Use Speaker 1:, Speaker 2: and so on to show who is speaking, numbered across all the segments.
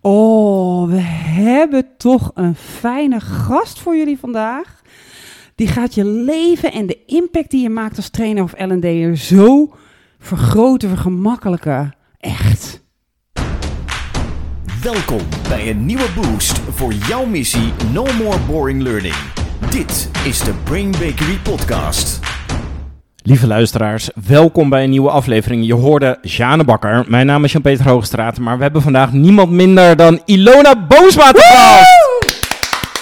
Speaker 1: Oh, we hebben toch een fijne gast voor jullie vandaag. Die gaat je leven en de impact die je maakt als trainer of L&D'er zo vergroten, vergemakkelijken. Echt.
Speaker 2: Welkom bij een nieuwe boost voor jouw missie No More Boring Learning. Dit is de Brain Bakery Podcast.
Speaker 3: Lieve luisteraars, welkom bij een nieuwe aflevering. Je hoorde Jane Bakker. Mijn naam is Jan-Peter Hoogstraat, maar we hebben vandaag niemand minder dan Ilona Boomsma te gast.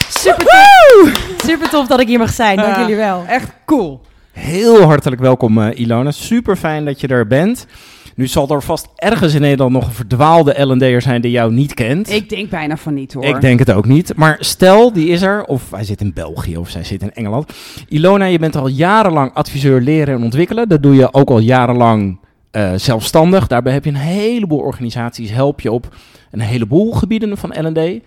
Speaker 4: Super tof. Super tof dat ik hier mag zijn. Dank
Speaker 1: Ja.
Speaker 4: jullie wel.
Speaker 1: Echt cool.
Speaker 3: Heel hartelijk welkom eh, Ilona, super fijn dat je er bent. Nu zal er vast ergens in Nederland nog een verdwaalde L&D'er zijn die jou niet kent.
Speaker 1: Ik denk bijna van niet hoor.
Speaker 3: Ik denk het ook niet. Maar stel, die is er, of hij zit in België of zij zit in Engeland. Ilona, je bent al jarenlang adviseur leren en ontwikkelen. Dat doe je ook al jarenlang eh, zelfstandig. Daarbij heb je een heleboel organisaties, help je op een heleboel gebieden van L&D.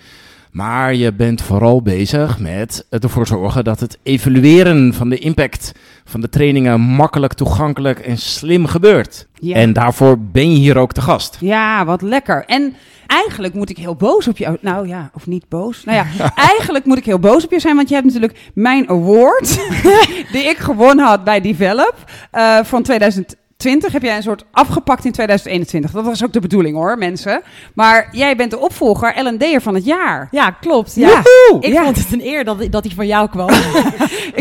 Speaker 3: Maar je bent vooral bezig met het ervoor zorgen dat het evalueren van de impact van de trainingen makkelijk, toegankelijk en slim gebeurt.
Speaker 1: Ja.
Speaker 3: En daarvoor ben je hier ook te gast.
Speaker 1: Ja, wat lekker. En eigenlijk moet ik heel boos op jou. Nou ja, of niet boos. Nou ja, eigenlijk moet ik heel boos op je zijn, want je hebt natuurlijk mijn award die ik gewonnen had bij Develop eh, van 2020 heb jij een soort afgepakt in 2021. Dat was ook de bedoeling hoor, mensen. Maar jij bent de opvolger L&D'er van het jaar.
Speaker 4: Ja, klopt. Ja.
Speaker 1: Woehoe!
Speaker 4: Ik
Speaker 1: Ja.
Speaker 4: vond het een eer dat, dat die van jou kwam.
Speaker 1: Ik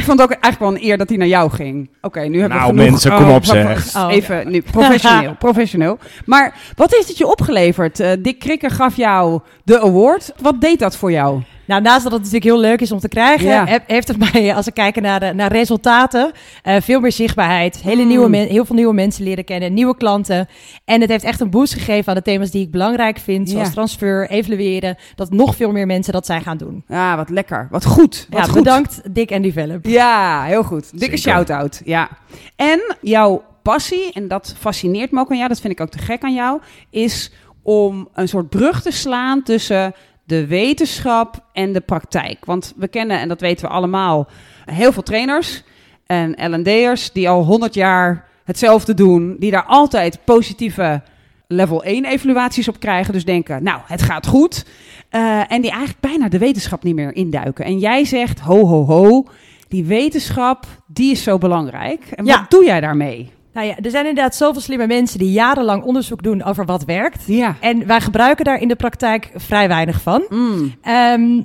Speaker 1: vond het ook eigenlijk wel een eer dat hij naar jou ging. Oké, nu hebben
Speaker 3: Nou,
Speaker 1: we genoeg.
Speaker 3: mensen, kom op, zeg.
Speaker 1: wacht, wacht.
Speaker 4: Oh.
Speaker 1: Even, nu, professioneel, professioneel. Maar wat heeft het je opgeleverd? Eh, Dick Krikker gaf jou de award. Wat deed dat voor jou?
Speaker 4: nou, naast dat het natuurlijk heel leuk is om te krijgen,
Speaker 1: Ja.
Speaker 4: heb- heeft het mij, als we kijken naar, de, naar resultaten, eh, veel meer zichtbaarheid. Hele
Speaker 1: Mm.
Speaker 4: nieuwe men- heel veel nieuwe mensen leren kennen, nieuwe klanten. En het heeft echt een boost gegeven aan de thema's die ik belangrijk vind, zoals
Speaker 1: Ja.
Speaker 4: transfer, evalueren. Dat nog veel meer mensen dat zijn gaan doen.
Speaker 1: Ah, wat lekker. Wat goed. Wat
Speaker 4: Ja,
Speaker 1: goed.
Speaker 4: bedankt Dick en Develop.
Speaker 1: Ja, heel goed. Dikke
Speaker 3: Zeker.
Speaker 1: shout-out. Ja. En jouw passie, en dat fascineert me ook aan jou, dat vind ik ook te gek aan jou, is om een soort brug te slaan tussen de wetenschap en de praktijk. Want we kennen, en dat weten we allemaal, heel veel trainers en L&D'ers die al 100 jaar hetzelfde doen, die daar altijd positieve level 1 evaluaties op krijgen. Dus denken, nou, het gaat goed. Eh, en die eigenlijk bijna de wetenschap niet meer induiken. En jij zegt, ho, ho, ho, die wetenschap, die is zo belangrijk. En
Speaker 4: Ja.
Speaker 1: wat doe jij daarmee?
Speaker 4: Nou ja, er zijn inderdaad zoveel slimme mensen die jarenlang onderzoek doen over wat werkt.
Speaker 1: Ja.
Speaker 4: En wij gebruiken daar in de praktijk vrij weinig van.
Speaker 1: Mm.
Speaker 4: Ehm,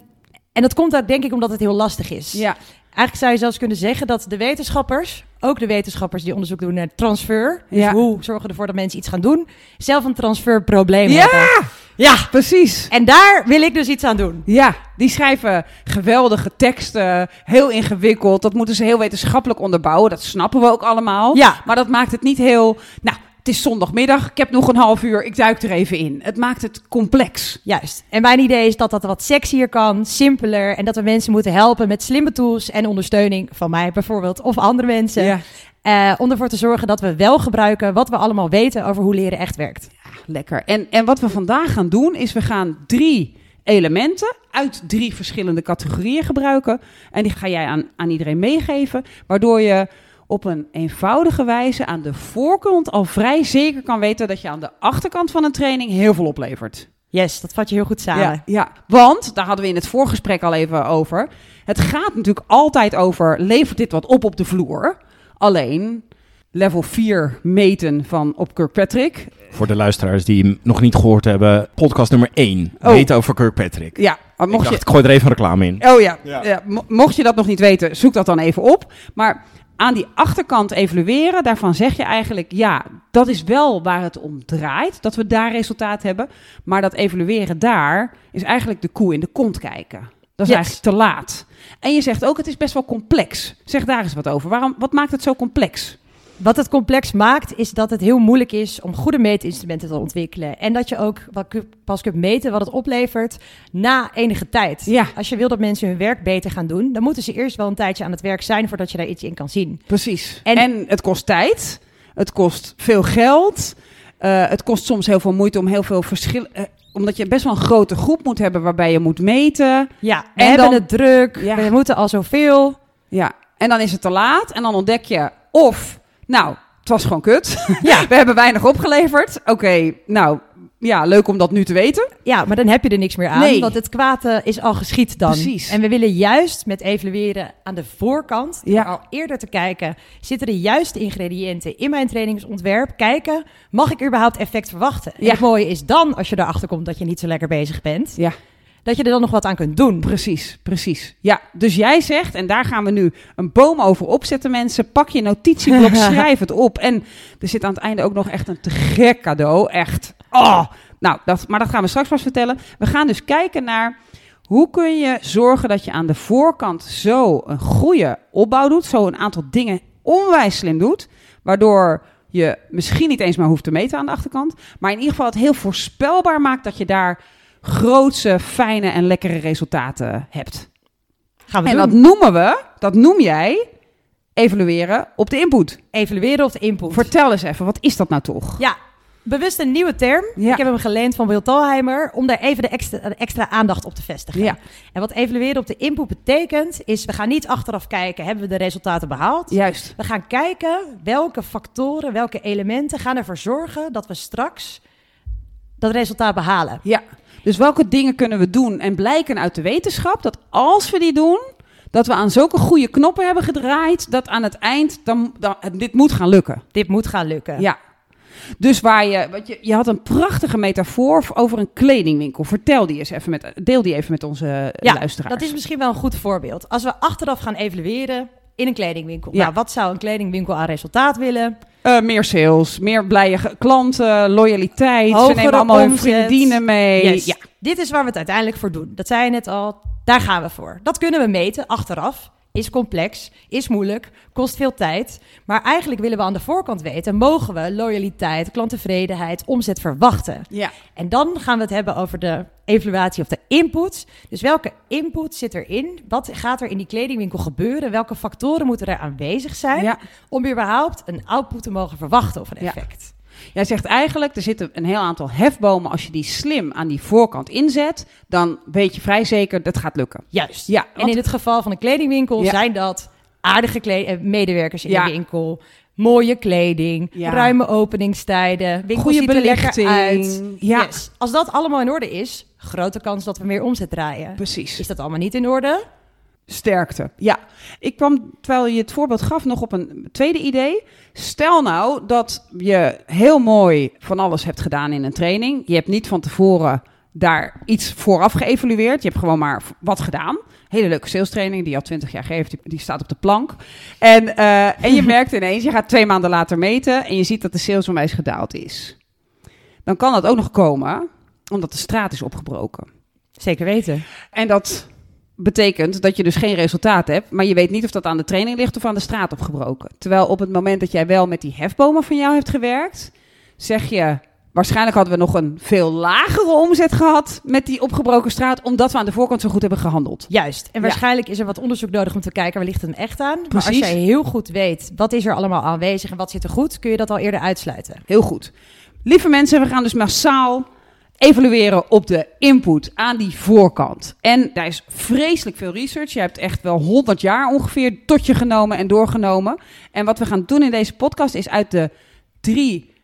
Speaker 4: en dat komt uit, denk ik, omdat het heel lastig is.
Speaker 1: Ja.
Speaker 4: Eigenlijk zou je zelfs kunnen zeggen dat de wetenschappers, ook de wetenschappers die onderzoek doen naar transfer, dus
Speaker 1: Ja.
Speaker 4: hoe zorgen we ervoor dat mensen iets gaan doen, zelf een transferprobleem
Speaker 1: Ja!
Speaker 4: hebben. Ja!
Speaker 1: Precies.
Speaker 4: En daar wil ik dus iets aan doen.
Speaker 1: Ja, die schrijven geweldige teksten, heel ingewikkeld. Dat moeten ze heel wetenschappelijk onderbouwen. Dat snappen we ook allemaal.
Speaker 4: Ja.
Speaker 1: Maar dat maakt het niet heel... Nou, het is zondagmiddag, ik heb nog een half uur, ik duik er even in. Het maakt het complex.
Speaker 4: Juist. En mijn idee is dat dat wat sexier kan, simpeler en dat we mensen moeten helpen met slimme tools en ondersteuning van mij bijvoorbeeld of andere mensen. Eh, om ervoor te zorgen dat we wel gebruiken wat we allemaal weten over hoe leren echt werkt.
Speaker 1: Ah, Lekker. En, en wat we vandaag gaan doen, is we gaan drie elementen uit drie verschillende categorieën gebruiken. En die ga jij aan, aan iedereen meegeven, waardoor je op een eenvoudige wijze aan de voorkant al vrij zeker kan weten dat je aan de achterkant van een training heel veel oplevert.
Speaker 4: Yes, dat vat je heel goed samen.
Speaker 1: Ja, ja, want daar hadden we in het voorgesprek al even over. Het gaat natuurlijk altijd over: levert dit wat op op de vloer? Alleen level 4 meten van op Kirkpatrick
Speaker 3: Voor de luisteraars die hem nog niet gehoord hebben, podcast nummer 1.
Speaker 1: Oh.
Speaker 3: Weten over Kirkpatrick.
Speaker 1: Ja, maar mocht
Speaker 3: ik dacht,
Speaker 1: je.
Speaker 3: ik gooi er even reclame in.
Speaker 1: Oh ja, ja, mo- mocht je dat nog niet weten, zoek dat dan even op. Maar aan die achterkant evalueren, daarvan zeg je eigenlijk, ja, dat is wel waar het om draait, dat we daar resultaat hebben. Maar dat evalueren daar is eigenlijk de koe in de kont kijken. Dat is
Speaker 4: Yes.
Speaker 1: eigenlijk te laat. En je zegt ook, het is best wel complex. Zeg daar eens wat over. Waarom, wat maakt het zo complex?
Speaker 4: Wat het complex maakt, is dat het heel moeilijk is om goede meetinstrumenten te ontwikkelen. En dat je ook wel ku- pas kunt meten wat het oplevert na enige tijd.
Speaker 1: Ja.
Speaker 4: Als je wil dat mensen hun werk beter gaan doen, dan moeten ze eerst wel een tijdje aan het werk zijn voordat je daar iets in kan zien.
Speaker 1: Precies. En,
Speaker 4: En-
Speaker 1: het kost tijd, het kost veel geld, eh, het kost soms heel veel moeite om heel veel verschillen. omdat je best wel een grote groep moet hebben waarbij je moet meten.
Speaker 4: Ja, we
Speaker 1: En
Speaker 4: hebben
Speaker 1: dan-
Speaker 4: het druk,
Speaker 1: Ja.
Speaker 4: we moeten al zoveel.
Speaker 1: Ja. En dan is het te laat en dan ontdek je of, nou, het was gewoon kut.
Speaker 4: Ja.
Speaker 1: We hebben weinig opgeleverd. Oké, nou, ja, leuk om dat nu te weten.
Speaker 4: Ja, maar dan heb je er niks meer aan,
Speaker 1: Nee.
Speaker 4: want het kwaad eh, is al geschied dan.
Speaker 1: Precies.
Speaker 4: En we willen juist met evalueren aan de voorkant,
Speaker 1: Ja.
Speaker 4: door al eerder te kijken, zitten de juiste ingrediënten in mijn trainingsontwerp? Kijken, mag ik überhaupt effect verwachten? En
Speaker 1: Ja.
Speaker 4: het mooie is dan, als je erachter komt dat je niet zo lekker bezig bent,
Speaker 1: Ja.
Speaker 4: dat je er dan nog wat aan kunt doen.
Speaker 1: Precies, precies. Ja, dus jij zegt, en daar gaan we nu een boom over opzetten, mensen. Pak je notitieblok, schrijf het op. En er zit aan het einde ook nog echt een te gek cadeau. Echt. Oh. Nou, dat, maar dat gaan we straks pas vertellen. We gaan dus kijken naar hoe kun je zorgen dat je aan de voorkant zo een goede opbouw doet. Zo een aantal dingen onwijs slim doet. Waardoor je misschien niet eens maar hoeft te meten aan de achterkant. Maar in ieder geval het heel voorspelbaar maakt dat je daar grootse, fijne en lekkere resultaten hebt.
Speaker 4: Gaan we
Speaker 1: En
Speaker 4: doen.
Speaker 1: dat noemen we, dat noem jij, evalueren op de input.
Speaker 4: Evalueren op de input.
Speaker 1: Vertel eens even, wat is dat nou toch?
Speaker 4: Ja, bewust een nieuwe term.
Speaker 1: Ja.
Speaker 4: Ik heb hem geleend van Wil Talheimer om daar even de extra, de extra aandacht op te vestigen.
Speaker 1: Ja.
Speaker 4: En wat evalueren op de input betekent, is we gaan niet achteraf kijken, hebben we de resultaten behaald?
Speaker 1: Juist.
Speaker 4: We gaan kijken welke factoren, welke elementen gaan ervoor zorgen dat we straks dat resultaat behalen.
Speaker 1: Ja. Dus welke dingen kunnen we doen en blijken uit de wetenschap dat als we die doen, dat we aan zulke goede knoppen hebben gedraaid, dat aan het eind dan, dan dit moet gaan lukken.
Speaker 4: Dit moet gaan lukken.
Speaker 1: Ja. Dus waar je, want je, je had een prachtige metafoor over een kledingwinkel. Vertel die eens even met, deel die even met onze eh,
Speaker 4: Ja,
Speaker 1: luisteraars.
Speaker 4: Dat is misschien wel een goed voorbeeld. Als we achteraf gaan evalueren in een kledingwinkel.
Speaker 1: Ja.
Speaker 4: Nou, wat zou een kledingwinkel aan resultaat willen?
Speaker 1: Eh, meer sales, meer blije ge- klanten, loyaliteit. Ze
Speaker 4: Hogere
Speaker 1: nemen allemaal hun
Speaker 4: omzet.
Speaker 1: vriendinnen mee.
Speaker 4: Yes.
Speaker 1: Ja.
Speaker 4: Dit is waar we het uiteindelijk voor doen. Dat zei je net al. Daar gaan we voor. Dat kunnen we meten achteraf. Is complex, is moeilijk, kost veel tijd. Maar eigenlijk willen we aan de voorkant weten: mogen we loyaliteit, klanttevredenheid, omzet verwachten?
Speaker 1: Ja.
Speaker 4: En dan gaan we het hebben over de evaluatie of de input. Dus welke input zit erin? Wat gaat er in die kledingwinkel gebeuren? Welke factoren moeten er aanwezig zijn
Speaker 1: Ja.
Speaker 4: om überhaupt een output te mogen verwachten of een
Speaker 1: Ja.
Speaker 4: effect?
Speaker 1: Jij zegt eigenlijk, er zitten een heel aantal hefbomen. Als je die slim aan die voorkant inzet, dan weet je vrij zeker dat gaat lukken.
Speaker 4: Juist.
Speaker 1: Ja,
Speaker 4: En
Speaker 1: want-
Speaker 4: in het geval van een kledingwinkel
Speaker 1: Ja.
Speaker 4: zijn dat aardige kle- eh, medewerkers in
Speaker 1: Ja.
Speaker 4: de winkel, mooie kleding,
Speaker 1: Ja.
Speaker 4: ruime openingstijden, winkels
Speaker 1: Goede
Speaker 4: ziet er lekker
Speaker 1: belichting.
Speaker 4: uit.
Speaker 1: Ja.
Speaker 4: Yes. Als dat allemaal in orde is, grote kans dat we meer omzet draaien.
Speaker 1: Precies.
Speaker 4: Is dat allemaal niet in orde?
Speaker 1: Sterkte. Ja, ik kwam terwijl je het voorbeeld gaf nog op een tweede idee. Stel nou dat je heel mooi van alles hebt gedaan in een training. Je hebt niet van tevoren daar iets vooraf geëvalueerd. Je hebt gewoon maar wat gedaan. Hele leuke sales training die je al twintig jaar geeft. Die, die staat op de plank. En, eh, en je merkt ineens, je gaat twee maanden later meten en je ziet dat de sales onwijs gedaald is. Dan kan dat ook nog komen omdat de straat is opgebroken.
Speaker 4: Zeker weten.
Speaker 1: En dat betekent dat je dus geen resultaat hebt, maar je weet niet of dat aan de training ligt of aan de straat opgebroken. Terwijl op het moment dat jij wel met die hefbomen van jou hebt gewerkt, zeg je. Waarschijnlijk hadden we nog een veel lagere omzet gehad met die opgebroken straat, omdat we aan de voorkant zo goed hebben gehandeld.
Speaker 4: Juist. En
Speaker 1: Ja.
Speaker 4: waarschijnlijk is er wat onderzoek nodig om te kijken waar ligt het hem echt aan. Maar als
Speaker 1: Precies.
Speaker 4: jij heel goed weet wat is er allemaal aanwezig en wat zit er goed, kun je dat al eerder uitsluiten.
Speaker 1: Heel goed. Lieve mensen, we gaan dus massaal evalueren op de input aan die voorkant. En daar is vreselijk veel research. Je hebt echt wel 100 jaar ongeveer tot je genomen en doorgenomen. En wat we gaan doen in deze podcast is uit de drie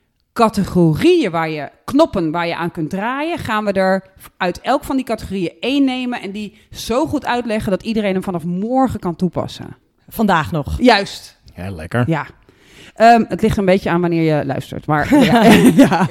Speaker 1: categorieën waar je knoppen waar je aan kunt draaien, gaan we er uit elk van die categorieën één nemen en die zo goed uitleggen dat iedereen hem vanaf morgen kan toepassen.
Speaker 4: Vandaag nog.
Speaker 1: Juist.
Speaker 3: Ja, lekker.
Speaker 1: Ja. Ehm, het ligt een beetje aan wanneer je luistert. Maar ja. ja.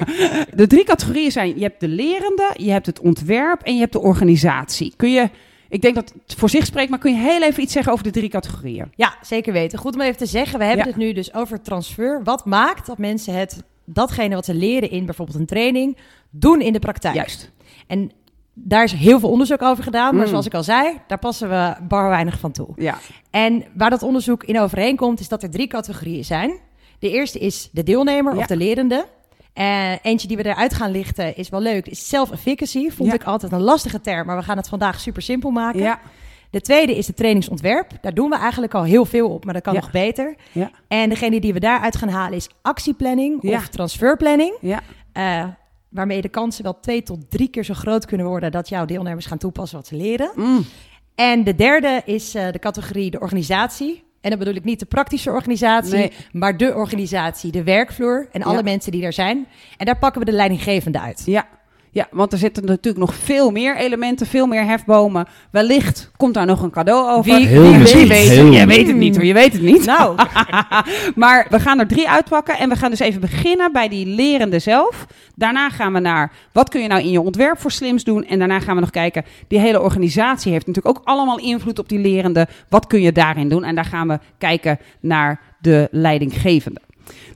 Speaker 1: de drie categorieën zijn: je hebt de lerende, je hebt het ontwerp en je hebt de organisatie. Kun je, ik denk dat het voor zich spreekt, maar kun je heel even iets zeggen over de drie categorieën?
Speaker 4: Ja, zeker weten. Goed om even te zeggen, we hebben
Speaker 1: Ja.
Speaker 4: het nu dus over transfer. Wat maakt dat mensen het, datgene wat ze leren in bijvoorbeeld een training, doen in de praktijk?
Speaker 1: Juist.
Speaker 4: En daar is heel veel onderzoek over gedaan, maar
Speaker 1: Mm.
Speaker 4: zoals ik al zei, daar passen we bar weinig van toe.
Speaker 1: Ja.
Speaker 4: En waar dat onderzoek in overeenkomt, is dat er drie categorieën zijn. De eerste is de deelnemer
Speaker 1: Ja.
Speaker 4: of de lerende. Eh, eentje die we eruit gaan lichten is wel leuk, is self-efficacy. Vond
Speaker 1: Ja.
Speaker 4: ik altijd een lastige term, maar we gaan het vandaag super simpel maken.
Speaker 1: Ja.
Speaker 4: De tweede is het trainingsontwerp. Daar doen we eigenlijk al heel veel op, maar dat kan
Speaker 1: Ja.
Speaker 4: nog beter.
Speaker 1: Ja.
Speaker 4: En degene die we daaruit gaan halen is actieplanning
Speaker 1: Ja.
Speaker 4: of transferplanning.
Speaker 1: Ja.
Speaker 4: eh, waarmee de kansen wel twee tot drie keer zo groot kunnen worden dat jouw deelnemers gaan toepassen wat ze leren.
Speaker 1: Mm.
Speaker 4: En de derde is eh, de categorie de organisatie. En dan bedoel ik niet de praktische organisatie,
Speaker 1: Nee.
Speaker 4: maar de organisatie, de werkvloer en alle
Speaker 1: Ja.
Speaker 4: mensen die daar zijn. En daar pakken we de leidinggevende uit.
Speaker 1: Ja. ja, want er zitten natuurlijk nog veel meer elementen, veel meer hefbomen. Wellicht komt daar nog een cadeau over.
Speaker 3: Wie- Heel wie misschien. weet.
Speaker 1: Jij
Speaker 3: Heel
Speaker 1: weet het
Speaker 4: misschien.
Speaker 1: niet hoor, je weet het niet.
Speaker 4: Nou,
Speaker 1: Maar we gaan er drie uitpakken en we gaan dus even beginnen bij die lerende zelf. Daarna gaan we naar wat kun je nou in je ontwerp voor slims doen. En daarna gaan we nog kijken, die hele organisatie heeft natuurlijk ook allemaal invloed op die lerende. Wat kun je daarin doen? En daar gaan we kijken naar de leidinggevende.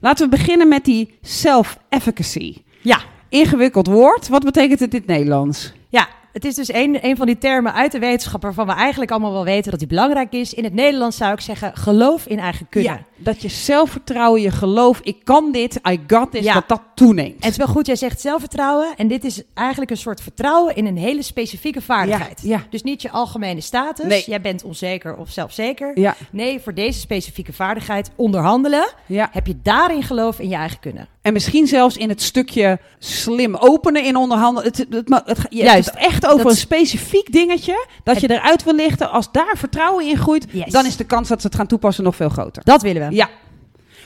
Speaker 1: Laten we beginnen met die self-efficacy.
Speaker 4: ja.
Speaker 1: Ingewikkeld woord, wat betekent het in het Nederlands?
Speaker 4: Ja, het is dus een, een van die termen uit de wetenschap waarvan we eigenlijk allemaal wel weten dat die belangrijk is. In het Nederlands zou ik zeggen geloof in eigen kunnen.
Speaker 1: Ja, dat je zelfvertrouwen, je geloof, ik kan dit, I got this,
Speaker 4: Ja.
Speaker 1: dat dat toeneemt.
Speaker 4: En het is wel goed, jij zegt zelfvertrouwen. En dit is eigenlijk een soort vertrouwen in een hele specifieke vaardigheid.
Speaker 1: Ja, ja.
Speaker 4: Dus niet je algemene status.
Speaker 1: Nee.
Speaker 4: Jij bent onzeker of zelfzeker.
Speaker 1: Ja,
Speaker 4: Nee, voor deze specifieke vaardigheid onderhandelen.
Speaker 1: ja.
Speaker 4: Heb je daarin geloof in je eigen kunnen?
Speaker 1: En misschien zelfs in het stukje slim openen in onderhandelen. Het, het, het, het- je hebt
Speaker 4: Juist.
Speaker 1: het echt over
Speaker 4: Dat-
Speaker 1: een specifiek dingetje dat je eruit wil lichten. Als daar vertrouwen in groeit,
Speaker 4: Yes.
Speaker 1: dan is de kans dat ze het gaan toepassen nog veel groter.
Speaker 4: Dat willen we.
Speaker 1: Ja.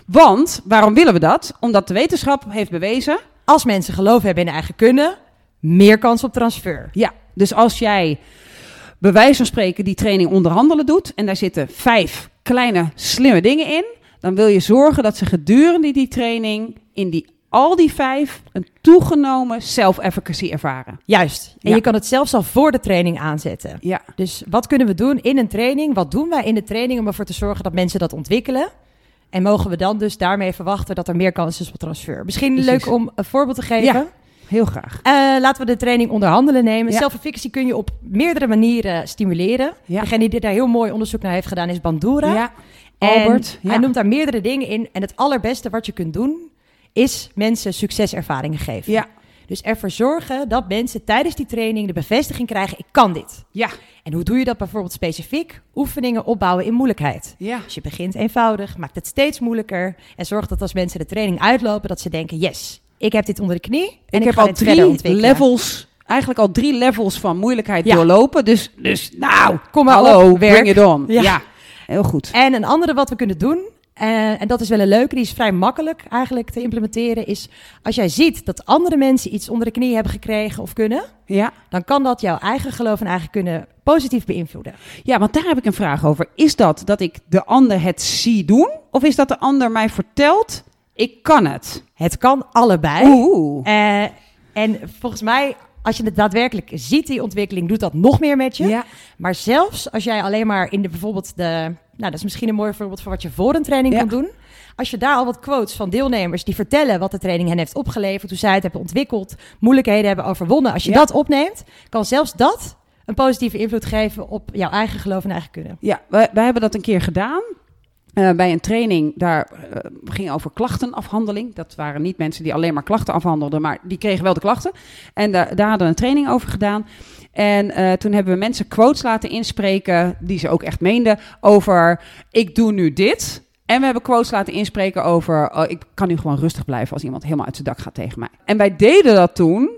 Speaker 1: Want, waarom willen we dat? Omdat de wetenschap heeft bewezen.
Speaker 4: Als mensen geloof hebben in hun eigen kunnen, meer kans op transfer.
Speaker 1: Ja, dus als jij bij wijze van spreken die training onderhandelen doet... en daar zitten vijf kleine slimme dingen in... dan wil je zorgen dat ze gedurende die training... in die, al die vijf een toegenomen self-efficacy ervaren.
Speaker 4: Juist. En
Speaker 1: Ja.
Speaker 4: je kan het zelfs al voor de training aanzetten.
Speaker 1: Ja.
Speaker 4: Dus wat kunnen we doen in een training? Wat doen wij in de training om ervoor te zorgen dat mensen dat ontwikkelen? En mogen we dan dus daarmee verwachten dat er meer kans is op transfer? Misschien
Speaker 1: Precies.
Speaker 4: leuk om een voorbeeld te geven.
Speaker 1: Ja. Heel graag.
Speaker 4: Eh, laten we de training onderhandelen nemen.
Speaker 1: Ja.
Speaker 4: Self-efficacy kun je op meerdere manieren stimuleren.
Speaker 1: Ja.
Speaker 4: Degene die daar heel mooi onderzoek naar heeft gedaan is Bandura.
Speaker 1: Ja,
Speaker 4: En
Speaker 1: Albert. Ja.
Speaker 4: Hij noemt daar meerdere dingen in. En het allerbeste wat je kunt doen, is mensen succeservaringen geven.
Speaker 1: ja,
Speaker 4: Dus ervoor zorgen dat mensen tijdens die training de bevestiging krijgen: ik kan dit.
Speaker 1: ja,
Speaker 4: En hoe doe je dat bijvoorbeeld specifiek? Oefeningen opbouwen in moeilijkheid.
Speaker 1: ja.
Speaker 4: Dus je begint eenvoudig, maakt het steeds moeilijker en zorgt dat als mensen de training uitlopen, dat ze denken: yes, ik heb dit onder de knie. En
Speaker 1: ik heb
Speaker 4: ga
Speaker 1: al
Speaker 4: dit verder
Speaker 1: drie
Speaker 4: ontwikkelen."
Speaker 1: levels, eigenlijk al drie levels van moeilijkheid
Speaker 4: Ja.
Speaker 1: doorlopen. Dus, dus nou,
Speaker 4: Kom maar
Speaker 1: hallo,
Speaker 4: op, werk.
Speaker 1: bring it on. Ja.
Speaker 4: Ja.
Speaker 1: heel goed.
Speaker 4: En een andere wat we kunnen doen, eh, en dat is wel een leuke, die is vrij makkelijk eigenlijk te implementeren, is als jij ziet dat andere mensen iets onder de knie hebben gekregen of kunnen,
Speaker 1: Ja.
Speaker 4: dan kan dat jouw eigen geloof en eigen kunnen positief beïnvloeden.
Speaker 1: ja, want daar heb ik een vraag over. Is dat dat ik de ander het zie doen? Of is dat de ander mij vertelt, ik kan het?
Speaker 4: Het kan allebei.
Speaker 1: Oeh.
Speaker 4: Eh, en volgens mij, als je het daadwerkelijk ziet, die ontwikkeling, doet dat nog meer met je.
Speaker 1: Ja,
Speaker 4: Maar zelfs als jij alleen maar in de bijvoorbeeld de. Nou, dat is misschien een mooi voorbeeld van wat je voor een training
Speaker 1: Ja.
Speaker 4: kan doen. Als je daar al wat quotes van deelnemers die vertellen wat de training hen heeft opgeleverd, hoe zij het hebben ontwikkeld, moeilijkheden hebben overwonnen. Als je
Speaker 1: Ja.
Speaker 4: dat opneemt, kan zelfs dat een positieve invloed geven op jouw eigen geloof en eigen kunnen.
Speaker 1: ja wij, wij hebben dat een keer gedaan. eh, bij een training, daar eh, ging over klachtenafhandeling. Dat waren niet mensen die alleen maar klachten afhandelden, maar die kregen wel de klachten. En daar daar hadden we een training over gedaan. En eh, toen hebben we mensen quotes laten inspreken, die ze ook echt meenden, over ik doe nu dit. En we hebben quotes laten inspreken over oh, ik kan nu gewoon rustig blijven als iemand helemaal uit zijn dak gaat tegen mij. En wij deden dat toen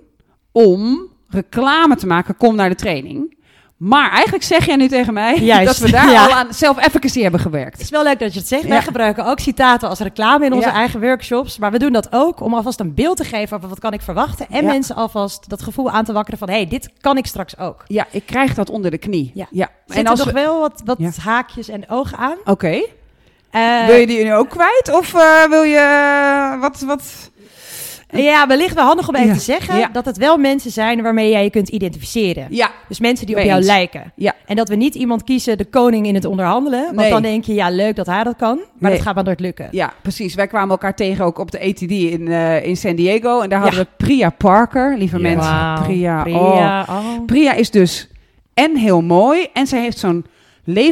Speaker 1: om reclame te maken, kom naar de training. Maar eigenlijk zeg jij nu tegen mij
Speaker 4: Juist,
Speaker 1: dat we daar
Speaker 4: ja.
Speaker 1: al aan self-efficacy hebben gewerkt.
Speaker 4: Het is wel leuk dat je het zegt.
Speaker 1: Ja.
Speaker 4: Wij gebruiken ook citaten als reclame in onze
Speaker 1: Ja.
Speaker 4: eigen workshops. Maar we doen dat ook om alvast een beeld te geven over wat kan ik verwachten. En
Speaker 1: Ja.
Speaker 4: mensen alvast dat gevoel aan te wakkeren van... hé, hey, dit kan ik straks ook.
Speaker 1: Ja, ik krijg dat onder de knie.
Speaker 4: Ja.
Speaker 1: En
Speaker 4: Zitten
Speaker 1: als
Speaker 4: nog
Speaker 1: we...
Speaker 4: wel wat, wat
Speaker 1: Ja.
Speaker 4: haakjes en ogen aan.
Speaker 1: Oké.
Speaker 4: Eh,
Speaker 1: wil je die nu ook kwijt? Of eh, wil je... eh, Wat, wat...
Speaker 4: Eh, Ja, wellicht wel handig om even
Speaker 1: Ja.
Speaker 4: te zeggen...
Speaker 1: Ja.
Speaker 4: dat het wel mensen zijn waarmee jij je kunt identificeren.
Speaker 1: Ja.
Speaker 4: Dus mensen die op
Speaker 1: Mee
Speaker 4: jou
Speaker 1: eens.
Speaker 4: lijken.
Speaker 1: Ja.
Speaker 4: En dat we niet iemand kiezen, de koning in het onderhandelen. Want
Speaker 1: Nee.
Speaker 4: dan denk je, ja, leuk dat hij dat kan. Maar
Speaker 1: Nee.
Speaker 4: dat gaat maar nooit lukken.
Speaker 1: ja, precies. Wij kwamen elkaar tegen ook op de ATD in, eh, in San Diego. En daar
Speaker 4: Ja.
Speaker 1: hadden we Priya Parker, lieve
Speaker 3: Ja.
Speaker 1: mensen.
Speaker 4: Wauw.
Speaker 1: Priya, oh.
Speaker 4: Priya, oh.
Speaker 1: Priya is dus en heel mooi. En zij heeft zo'n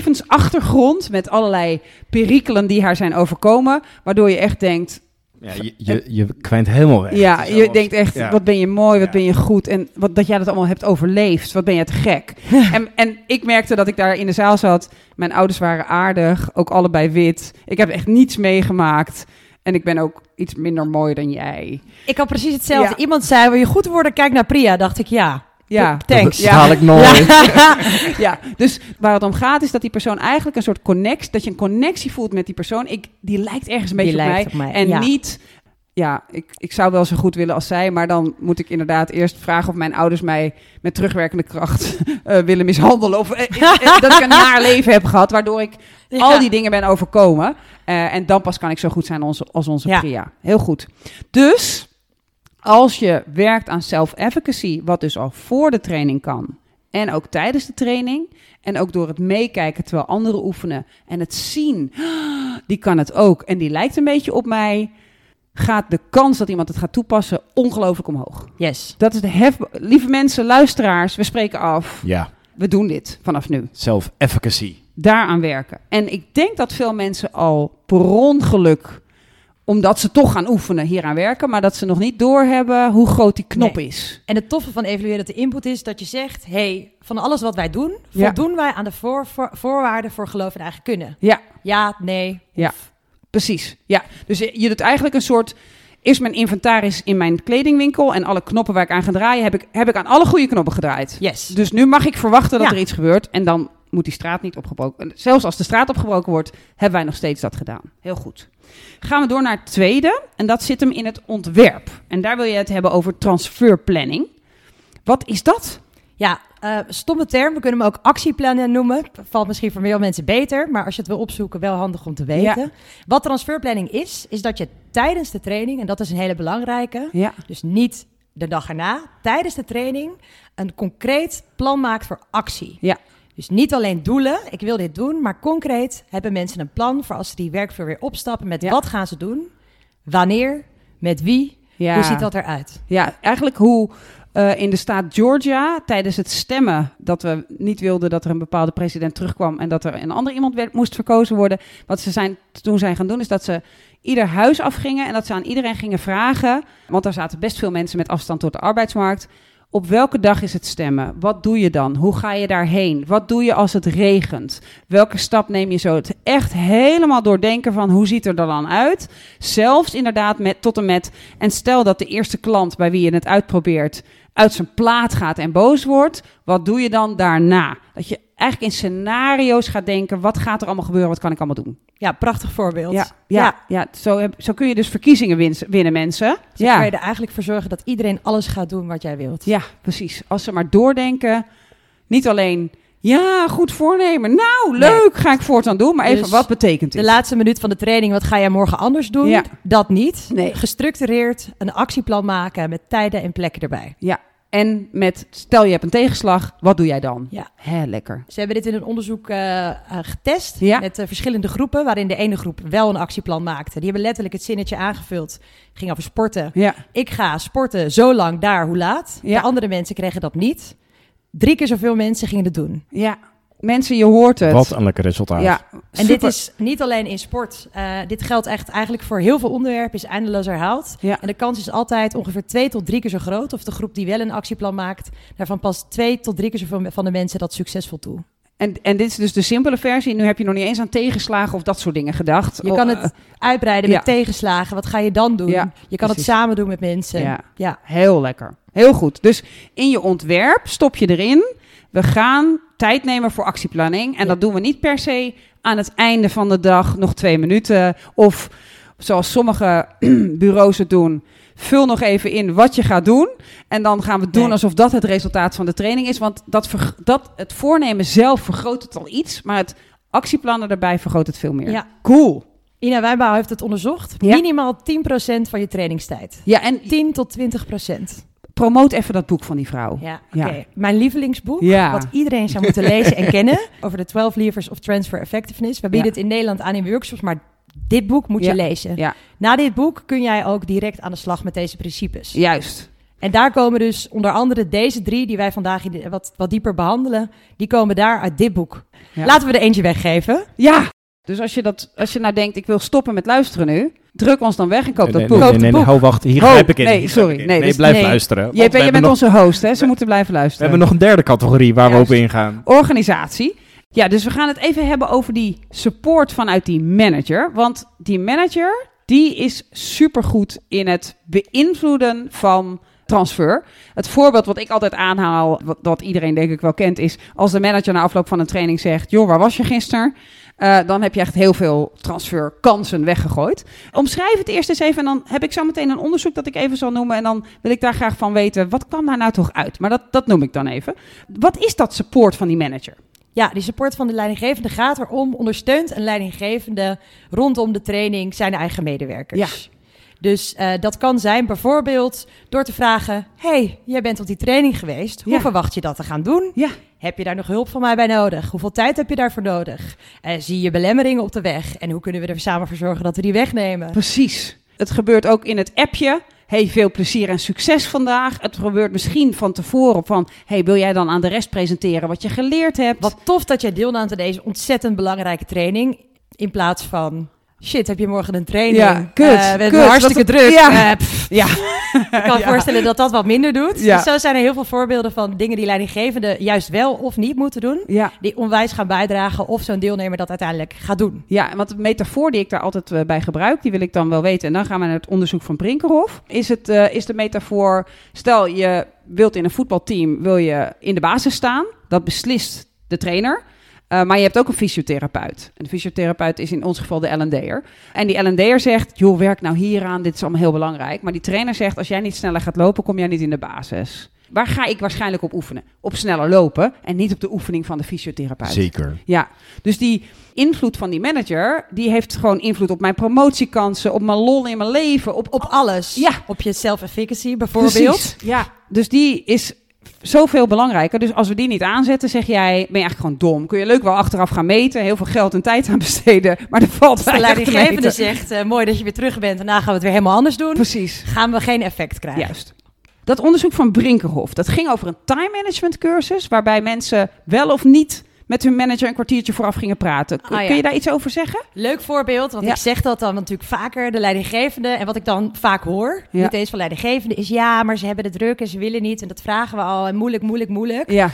Speaker 1: levensachtergrond met allerlei perikelen die haar zijn overkomen. Waardoor je echt denkt,
Speaker 3: Ja, je, je, je kwijnt helemaal weg.
Speaker 1: Ja,
Speaker 3: Het is
Speaker 1: je
Speaker 3: zelfs-
Speaker 1: denkt echt,
Speaker 3: ja.
Speaker 1: wat ben je mooi, wat
Speaker 3: Ja.
Speaker 1: ben je goed. En wat, dat jij dat allemaal hebt overleefd, wat ben jij te gek. en, en ik merkte dat ik daar in de zaal zat. Mijn ouders waren aardig, ook allebei wit. Ik heb echt niets meegemaakt. En ik ben ook iets minder mooi dan jij.
Speaker 4: Ik had precies hetzelfde.
Speaker 1: Ja.
Speaker 4: Iemand zei, wil je goed worden? Kijk naar Priya. Dacht ik, ja.
Speaker 1: Ja.
Speaker 4: T- Thanks.
Speaker 3: Dat, dat haal ik nooit.
Speaker 4: Ja.
Speaker 1: Ja, dus waar het om gaat is dat die persoon eigenlijk een soort connect, dat je een connectie voelt met die persoon. Ik, die lijkt ergens een
Speaker 4: Die
Speaker 1: beetje op
Speaker 4: lijkt
Speaker 1: mij.
Speaker 4: op mij,
Speaker 1: En
Speaker 4: ja.
Speaker 1: niet, ja, ik, ik zou wel zo goed willen als zij, maar dan moet ik inderdaad eerst vragen of mijn ouders mij met terugwerkende kracht eh, willen mishandelen. Of eh, eh, eh, dat ik een naar leven heb gehad, waardoor ik al die dingen ben overkomen. Eh, en dan pas kan ik zo goed zijn onze, als onze
Speaker 4: Ja.
Speaker 1: Priya. Heel goed. Dus als je werkt aan self-efficacy, wat dus al voor de training kan. En ook tijdens de training. En ook door het meekijken terwijl anderen oefenen. En het zien. Die kan het ook. En die lijkt een beetje op mij. Gaat de kans dat iemand het gaat toepassen ongelooflijk omhoog.
Speaker 4: Yes.
Speaker 1: Dat is de hef... Lieve mensen, luisteraars, we spreken af.
Speaker 3: Ja,
Speaker 1: We doen dit vanaf nu
Speaker 3: self-efficacy.
Speaker 1: daaraan werken. En ik denk dat veel mensen al per ongeluk, omdat ze toch gaan oefenen, hieraan werken, maar dat ze nog niet doorhebben hoe groot die knop
Speaker 4: Nee.
Speaker 1: is.
Speaker 4: En het toffe van evalueren dat de input is dat je zegt: hey, van alles wat wij doen,
Speaker 1: Ja.
Speaker 4: voldoen wij aan de voor, voor- voorwaarden voor geloof en eigen kunnen.
Speaker 1: Ja,
Speaker 4: Ja, nee.
Speaker 1: ja, precies. Ja. Dus je je doet eigenlijk een soort. Is mijn inventaris in mijn kledingwinkel en alle knoppen waar ik aan ga draaien, heb ik, heb ik aan alle goede knoppen gedraaid.
Speaker 4: Yes.
Speaker 1: Dus nu mag ik verwachten dat
Speaker 4: Ja.
Speaker 1: er iets gebeurt en dan moet die straat niet opgebroken worden. Zelfs als de straat opgebroken wordt, hebben wij nog steeds dat gedaan. Heel goed. Gaan we door naar het tweede en dat zit hem in het ontwerp. En daar wil je het hebben over transferplanning. Wat is dat?
Speaker 4: Ja, eh, stomme term. We kunnen hem ook actieplannen noemen. Valt misschien voor veel mensen beter, maar als je het wil opzoeken, wel handig om te weten.
Speaker 1: Ja.
Speaker 4: Wat transferplanning is, is dat je tijdens de training, en dat is een hele belangrijke,
Speaker 1: Ja.
Speaker 4: dus niet de dag erna, tijdens de training een concreet plan maakt voor actie.
Speaker 1: Ja.
Speaker 4: Dus niet alleen doelen, ik wil dit doen, maar concreet hebben mensen een plan voor als ze die werkvloer weer opstappen. Met
Speaker 1: Ja.
Speaker 4: wat gaan ze doen, wanneer, met wie,
Speaker 1: Ja.
Speaker 4: hoe ziet dat eruit?
Speaker 1: Ja, eigenlijk hoe eh, in de staat Georgia tijdens het stemmen dat we niet wilden dat er een bepaalde president terugkwam en dat er een ander iemand werd, moest verkozen worden. Wat ze zijn, toen zijn gaan doen is dat ze ieder huis afgingen en dat ze aan iedereen gingen vragen, want daar zaten best veel mensen met afstand tot de arbeidsmarkt. Op welke dag is het stemmen? Wat doe je dan? Hoe ga je daarheen? Wat doe je als het regent? Welke stap neem je zo? Het echt helemaal doordenken van hoe ziet er er dan uit? Zelfs inderdaad met, tot en met en stel dat de eerste klant bij wie je het uitprobeert uit zijn plaat gaat en boos wordt, wat doe je dan daarna? Dat je eigenlijk in scenario's gaat denken, wat gaat er allemaal gebeuren, wat kan ik allemaal doen?
Speaker 4: Ja, prachtig voorbeeld.
Speaker 1: Ja, ja, ja. zo, heb- zo kun je dus verkiezingen wins- winnen, mensen.
Speaker 4: Zo
Speaker 1: ja.
Speaker 4: Dus kan je er eigenlijk voor zorgen dat iedereen alles gaat doen wat jij wilt.
Speaker 1: ja, precies. Als ze maar doordenken, niet alleen, ja, goed voornemen, nou, leuk, ga ik voortaan doen, maar even,
Speaker 4: Dus
Speaker 1: wat betekent
Speaker 4: De
Speaker 1: dit?
Speaker 4: laatste minuut van de training, wat ga jij morgen anders doen?
Speaker 1: Ja.
Speaker 4: Dat niet.
Speaker 1: Nee.
Speaker 4: Gestructureerd een actieplan maken met tijden en plekken erbij.
Speaker 1: Ja, en met, stel je hebt een tegenslag, wat doe jij dan?
Speaker 4: Ja.
Speaker 1: Hè, lekker.
Speaker 4: Ze hebben dit in een onderzoek eh, eh, getest
Speaker 1: Ja.
Speaker 4: met eh, verschillende groepen, waarin de ene groep wel een actieplan maakte. Die hebben letterlijk het zinnetje aangevuld. Ging over sporten.
Speaker 1: Ja,
Speaker 4: Ik ga sporten zo lang daar, hoe laat.
Speaker 1: Ja.
Speaker 4: De andere mensen kregen dat niet. Drie keer zoveel mensen gingen het doen.
Speaker 1: ja. Mensen, je hoort het.
Speaker 3: Wat een lekker resultaat.
Speaker 1: Ja,
Speaker 4: En
Speaker 1: super.
Speaker 4: dit is niet alleen in sport. Eh, dit geldt echt eigenlijk voor heel veel onderwerpen, is eindeloos herhaald.
Speaker 1: Ja.
Speaker 4: En de kans is altijd ongeveer twee tot drie keer zo groot. Of de groep die wel een actieplan maakt, daarvan past twee tot drie keer zoveel van de mensen dat succesvol toe.
Speaker 1: En, en dit is dus de simpele versie. Nu heb je nog niet eens aan tegenslagen of dat soort dingen gedacht.
Speaker 4: Je
Speaker 1: Oh,
Speaker 4: kan
Speaker 1: eh,
Speaker 4: het uitbreiden met
Speaker 1: ja.
Speaker 4: tegenslagen. Wat ga je dan doen?
Speaker 1: Ja,
Speaker 4: je kan
Speaker 1: precies.
Speaker 4: het samen doen met mensen.
Speaker 1: Ja.
Speaker 4: ja.
Speaker 1: heel lekker. Heel goed. Dus in je ontwerp stop je erin. We gaan tijd nemen voor actieplanning. En
Speaker 4: Ja.
Speaker 1: dat doen we niet per se aan het einde van de dag nog twee minuten. Of zoals sommige bureaus het doen. Vul nog even in wat je gaat doen. En dan gaan we doen
Speaker 4: Nee.
Speaker 1: alsof dat het resultaat van de training is. Want dat verg- dat, het voornemen zelf vergroot het al iets. Maar het actieplannen daarbij vergroot het veel meer.
Speaker 4: Ja.
Speaker 1: Cool.
Speaker 4: Ina Wijnbouw heeft het onderzocht.
Speaker 1: Ja.
Speaker 4: Minimaal 10% van je trainingstijd.
Speaker 1: Ja, en
Speaker 4: 10 tot 20%.
Speaker 1: promoot even dat boek van die vrouw.
Speaker 4: Ja, oké.
Speaker 1: Ja.
Speaker 4: Mijn lievelingsboek,
Speaker 1: Ja.
Speaker 4: wat iedereen zou moeten lezen en kennen, over de 12 levers of transfer effectiveness. We bieden
Speaker 1: Ja.
Speaker 4: het in Nederland aan in workshops, maar dit boek moet
Speaker 1: Ja.
Speaker 4: je lezen.
Speaker 1: Ja.
Speaker 4: Na dit boek kun jij ook direct aan de slag met deze principes.
Speaker 1: Juist.
Speaker 4: En daar komen dus onder andere deze drie, die wij vandaag in de- wat, wat dieper behandelen, die komen daar uit dit boek.
Speaker 1: Ja.
Speaker 4: Laten we er eentje weggeven.
Speaker 1: Ja. Dus als je, dat, als je nou denkt, ik wil stoppen met luisteren nu, druk ons dan weg en koop
Speaker 3: Nee,
Speaker 1: dat
Speaker 3: nee,
Speaker 1: boek.
Speaker 3: nee,
Speaker 1: Koop
Speaker 3: nee,
Speaker 1: het
Speaker 3: nee,
Speaker 1: boek.
Speaker 3: hou wacht. Hier
Speaker 1: Oh,
Speaker 3: grijp ik in.
Speaker 1: nee,
Speaker 3: hier grijp
Speaker 1: sorry.
Speaker 3: ik in.
Speaker 1: nee,
Speaker 3: Nee,
Speaker 1: dus-
Speaker 3: blijf
Speaker 1: nee.
Speaker 3: luisteren. want
Speaker 1: JP,
Speaker 3: we
Speaker 1: je
Speaker 3: hebben
Speaker 1: bent
Speaker 3: nog-
Speaker 1: onze host, hè? Ze
Speaker 3: we-
Speaker 1: moeten blijven
Speaker 3: We
Speaker 1: luisteren.
Speaker 3: hebben nog een derde categorie waar
Speaker 1: Juist.
Speaker 3: we op ingaan.
Speaker 1: Organisatie. Ja, dus we gaan het even hebben over die support vanuit die manager. Want die manager, die is supergoed in het beïnvloeden van transfer. Het voorbeeld wat ik altijd aanhaal, wat, dat iedereen denk ik wel kent, is als de manager na afloop van een training zegt: Joh, waar was je gisteren? Eh, dan heb je echt heel veel transferkansen weggegooid. Omschrijf het eerst eens even en dan heb ik zo meteen een onderzoek dat ik even zal noemen. En dan wil ik daar graag van weten, wat kwam daar nou toch uit? Maar dat, dat noem ik dan even. Wat is dat support van die manager?
Speaker 4: Ja, die support van de leidinggevende gaat erom, ondersteunt een leidinggevende rondom de training zijn eigen medewerkers. Ja. Dus eh, dat kan zijn bijvoorbeeld door te vragen: hey, jij bent op die training geweest. Hoe
Speaker 1: Ja.
Speaker 4: verwacht je dat te gaan doen?
Speaker 1: Ja,
Speaker 4: Heb je daar nog hulp van mij bij nodig? Hoeveel tijd heb je daarvoor nodig? Eh, zie je belemmeringen op de weg? En hoe kunnen we er samen voor zorgen dat we die wegnemen?
Speaker 1: Precies. Het gebeurt ook in het appje. Hey, veel plezier en succes vandaag. Het gebeurt misschien van tevoren van... Hey, wil jij dan aan de rest presenteren wat je geleerd hebt?
Speaker 4: Wat tof dat jij deelnam aan deze ontzettend belangrijke training. In plaats van, shit, heb je morgen een training?
Speaker 1: Ja,
Speaker 4: Eh,
Speaker 1: kut,
Speaker 4: we
Speaker 1: kut,
Speaker 4: hebben hartstikke
Speaker 1: dat-
Speaker 4: druk.
Speaker 1: ja.
Speaker 4: Eh, pff,
Speaker 1: Ja,
Speaker 4: ik kan me voorstellen dat dat wat minder doet.
Speaker 1: Ja.
Speaker 4: Dus zo zijn er heel veel voorbeelden van dingen die leidinggevenden juist wel of niet moeten doen.
Speaker 1: ja.
Speaker 4: Die onwijs gaan bijdragen of zo'n deelnemer dat uiteindelijk gaat doen.
Speaker 1: Ja, want de metafoor die ik daar altijd eh, bij gebruik, die wil ik dan wel weten. En dan gaan we naar het onderzoek van Brinkerhof. Is, het, eh, is de metafoor, stel je wilt in een voetbalteam, wil je in de basis staan. Dat beslist de trainer. Eh, maar je hebt ook een fysiotherapeut. En de fysiotherapeut is in ons geval de L&D'er. En die L&D'er zegt, joh, werk nou hieraan, dit is allemaal heel belangrijk. Maar die trainer zegt, als jij niet sneller gaat lopen, kom jij niet in de basis. Waar ga ik waarschijnlijk op oefenen? Op sneller lopen en niet op de oefening van de fysiotherapeut.
Speaker 3: Zeker.
Speaker 1: Ja, dus die invloed van die manager, die heeft gewoon invloed op mijn promotiekansen, op mijn lol in mijn leven, op,
Speaker 4: Op alles.
Speaker 1: Ja.
Speaker 4: Op je self-efficacy bijvoorbeeld.
Speaker 1: voorbeeld. Ja, dus die is zoveel belangrijker. Dus als we die niet aanzetten, zeg jij, ben je eigenlijk gewoon dom. Kun je leuk wel achteraf gaan meten, heel veel geld en tijd aan besteden, maar er valt
Speaker 4: Als de
Speaker 1: weinig te
Speaker 4: leidinggevende
Speaker 1: meten.
Speaker 4: zegt, eh, mooi dat je weer terug bent. Daarna gaan we het weer helemaal anders doen.
Speaker 1: Precies,
Speaker 4: Gaan we geen effect krijgen.
Speaker 1: juist. Dat onderzoek van Brinkerhof, dat ging over een time management cursus, waarbij mensen wel of niet met hun manager een kwartiertje vooraf gingen praten. Kun,
Speaker 4: Ah, ja.
Speaker 1: kun je daar iets over zeggen?
Speaker 4: Leuk voorbeeld, want
Speaker 1: Ja.
Speaker 4: ik zeg dat dan natuurlijk vaker, de leidinggevende. En wat ik dan vaak hoor,
Speaker 1: Ja.
Speaker 4: niet eens van leidinggevende, is ja, maar ze hebben het druk en ze willen niet. En dat vragen we al. En moeilijk, moeilijk, moeilijk.
Speaker 1: Ja,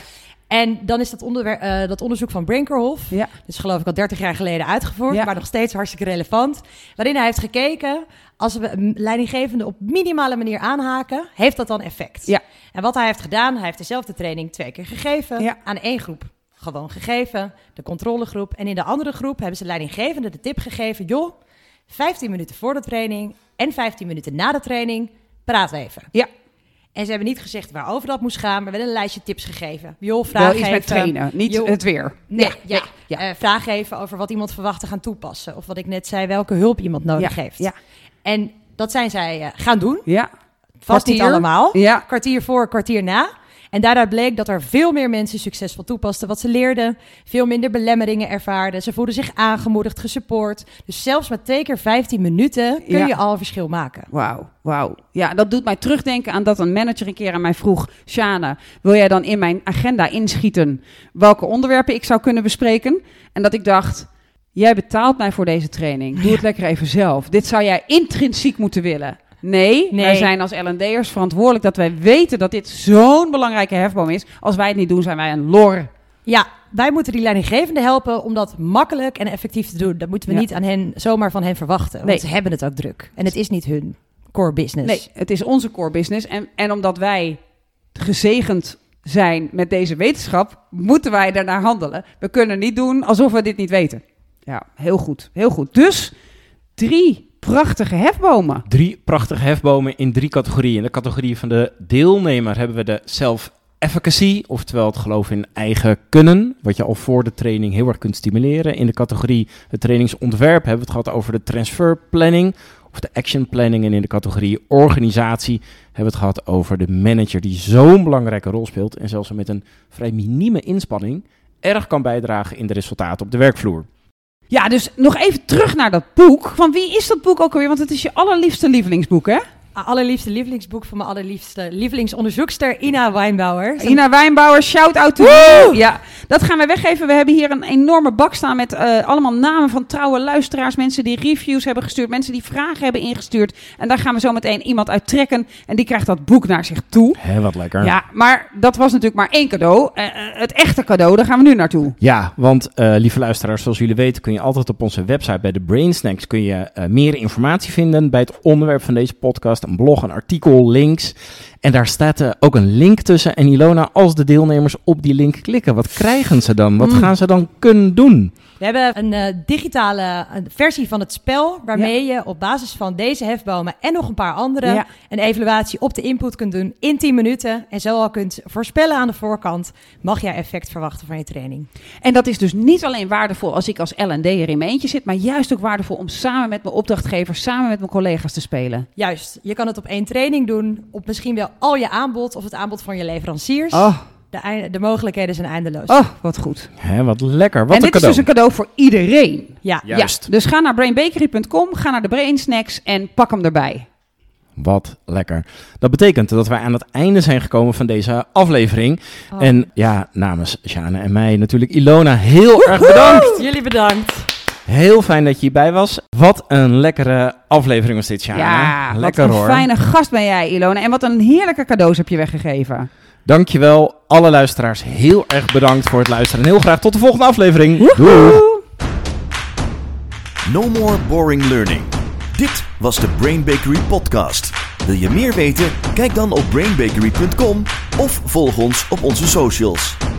Speaker 4: En dan is dat, onderwer- eh, dat onderzoek van Brinkerhoff,
Speaker 1: ja.
Speaker 4: dat is Dus geloof ik al 30 jaar geleden uitgevoerd,
Speaker 1: Ja.
Speaker 4: maar nog steeds hartstikke relevant. Waarin hij heeft gekeken, als we een leidinggevende op minimale manier aanhaken, heeft dat dan effect?
Speaker 1: Ja.
Speaker 4: En wat hij heeft gedaan, hij heeft dezelfde training twee keer gegeven
Speaker 1: Ja.
Speaker 4: aan één groep. Gewoon gegeven, de controlegroep. En in de andere groep hebben ze leidinggevende de tip gegeven, joh, 15 minuten voor de training en 15 minuten na de training, praat even.
Speaker 1: Ja.
Speaker 4: En ze hebben niet gezegd waarover dat moest gaan, maar wel een lijstje tips gegeven. Joh, vraag
Speaker 1: Wel iets
Speaker 4: even.
Speaker 1: met trainen, niet
Speaker 4: joh,
Speaker 1: het weer.
Speaker 4: Nee,
Speaker 1: Ja,
Speaker 4: ja.
Speaker 1: ja.
Speaker 4: Eh, vraag even over wat iemand verwacht te gaan toepassen. Of wat ik net zei, welke hulp iemand nodig
Speaker 1: Ja,
Speaker 4: heeft.
Speaker 1: ja.
Speaker 4: En dat zijn zij eh, gaan doen.
Speaker 1: Ja.
Speaker 4: Vast niet
Speaker 1: Kwartier.
Speaker 4: allemaal.
Speaker 1: Ja.
Speaker 4: Kwartier voor, kwartier na. En daaruit bleek dat er veel meer mensen succesvol toepasten wat ze leerden. Veel minder belemmeringen ervaarden. Ze voelden zich aangemoedigd, gesupport. Dus zelfs met twee keer 15 minuten kun
Speaker 1: Ja.
Speaker 4: je al een verschil maken.
Speaker 1: Wauw, wauw. Ja, dat doet mij terugdenken aan dat een manager een keer aan mij vroeg... Shana, wil jij dan in mijn agenda inschieten welke onderwerpen ik zou kunnen bespreken? En dat ik dacht, jij betaalt mij voor deze training. Doe het lekker even zelf. Dit zou jij intrinsiek moeten willen. Nee,
Speaker 4: Nee.
Speaker 1: wij zijn als L&D'ers verantwoordelijk dat wij weten dat dit zo'n belangrijke hefboom is. Als wij het niet doen, zijn wij een lor.
Speaker 4: Ja, wij moeten die leidinggevende helpen om dat makkelijk en effectief te doen. Dat moeten we
Speaker 1: Ja.
Speaker 4: niet aan hen, zomaar van hen verwachten. Want
Speaker 1: Nee.
Speaker 4: ze hebben het ook druk. En het is niet hun core business.
Speaker 1: Nee, het is onze core business. En, en omdat wij gezegend zijn met deze wetenschap, moeten wij daarnaar handelen. We kunnen niet doen alsof we dit niet weten. Ja, heel goed. Heel goed. Dus drie prachtige hefbomen.
Speaker 3: Drie prachtige hefbomen in drie categorieën. In de categorie van de deelnemer hebben we de self-efficacy, oftewel het geloof in eigen kunnen, wat je al voor de training heel erg kunt stimuleren. In de categorie het trainingsontwerp hebben we het gehad over de transferplanning of de action planning. En in de categorie organisatie hebben we het gehad over de manager, die zo'n belangrijke rol speelt en zelfs met een vrij minieme inspanning erg kan bijdragen in de resultaten op de werkvloer.
Speaker 1: Ja, dus nog even terug naar dat boek. Van wie is dat boek ook alweer? Want het is je allerliefste lievelingsboek, hè?
Speaker 4: Allerliefste lievelingsboek van mijn allerliefste lievelingsonderzoekster Ina Wijnbouwer. Ze-
Speaker 1: Ina Wijnbouwer, shout-out to you. Ja, dat gaan we weggeven. We hebben hier een enorme bak staan met eh, allemaal namen van trouwe luisteraars. Mensen die reviews hebben gestuurd. Mensen die vragen hebben ingestuurd. En daar gaan we zo meteen iemand uit trekken. En die krijgt dat boek naar zich toe.
Speaker 3: Hé, wat lekker.
Speaker 1: Ja, maar dat was natuurlijk maar één cadeau. Eh, eh, het echte cadeau, daar gaan we nu naartoe.
Speaker 3: Ja, want eh, lieve luisteraars, zoals jullie weten kun je altijd op onze website bij de Brain Snacks kun je eh, meer informatie vinden bij het onderwerp van deze podcast, een blog, een artikel, links. En daar staat eh, ook een link tussen. En Ilona, als de deelnemers op die link klikken, wat krijgen ze dan? Wat
Speaker 4: Mm.
Speaker 3: gaan ze dan kunnen doen?
Speaker 4: We hebben een eh, digitale eh, versie van het spel, waarmee je op basis van deze hefbomen en nog een paar andere
Speaker 1: Ja.
Speaker 4: een evaluatie op de input kunt doen in 10 minuten. En zo al kunt voorspellen aan de voorkant, mag jij effect verwachten van je training.
Speaker 1: En dat is dus niet alleen waardevol als ik als L&D'er in mijn eentje zit, maar juist ook waardevol om samen met mijn opdrachtgever, samen met mijn collega's te spelen.
Speaker 4: Juist, je kan het op één training doen, op misschien wel al je aanbod of het aanbod van je leveranciers.
Speaker 1: Oh,
Speaker 4: De, ei- de mogelijkheden zijn eindeloos.
Speaker 1: oh wat goed.
Speaker 3: Hè, wat lekker,
Speaker 1: en
Speaker 3: wat een
Speaker 1: dit
Speaker 3: cadeau.
Speaker 1: is dus een cadeau voor iedereen.
Speaker 4: Ja.
Speaker 3: Ja. Juist.
Speaker 1: Ja, dus ga naar brainbakery.com, ga naar de Brain Snacks en pak hem erbij.
Speaker 3: Wat lekker. Dat betekent dat wij aan het einde zijn gekomen van deze aflevering.
Speaker 4: Oh.
Speaker 3: En ja, namens Sjane en mij natuurlijk Ilona, heel erg bedankt.
Speaker 4: Jullie bedankt.
Speaker 3: Heel fijn dat je hierbij was. Wat een lekkere aflevering was dit, Sjane.
Speaker 1: ja,
Speaker 3: lekker
Speaker 1: wat een
Speaker 3: hoor.
Speaker 1: fijne gast ben jij, Ilona. En wat een heerlijke cadeaus heb je weggegeven.
Speaker 3: Dankjewel, alle luisteraars. Heel erg bedankt voor het luisteren. En heel graag tot de volgende aflevering. Doei.
Speaker 1: Doei.
Speaker 2: No more boring learning. Dit was de Brain Bakery podcast. Wil je meer weten? Kijk dan op brainbakery.com of volg ons op onze socials.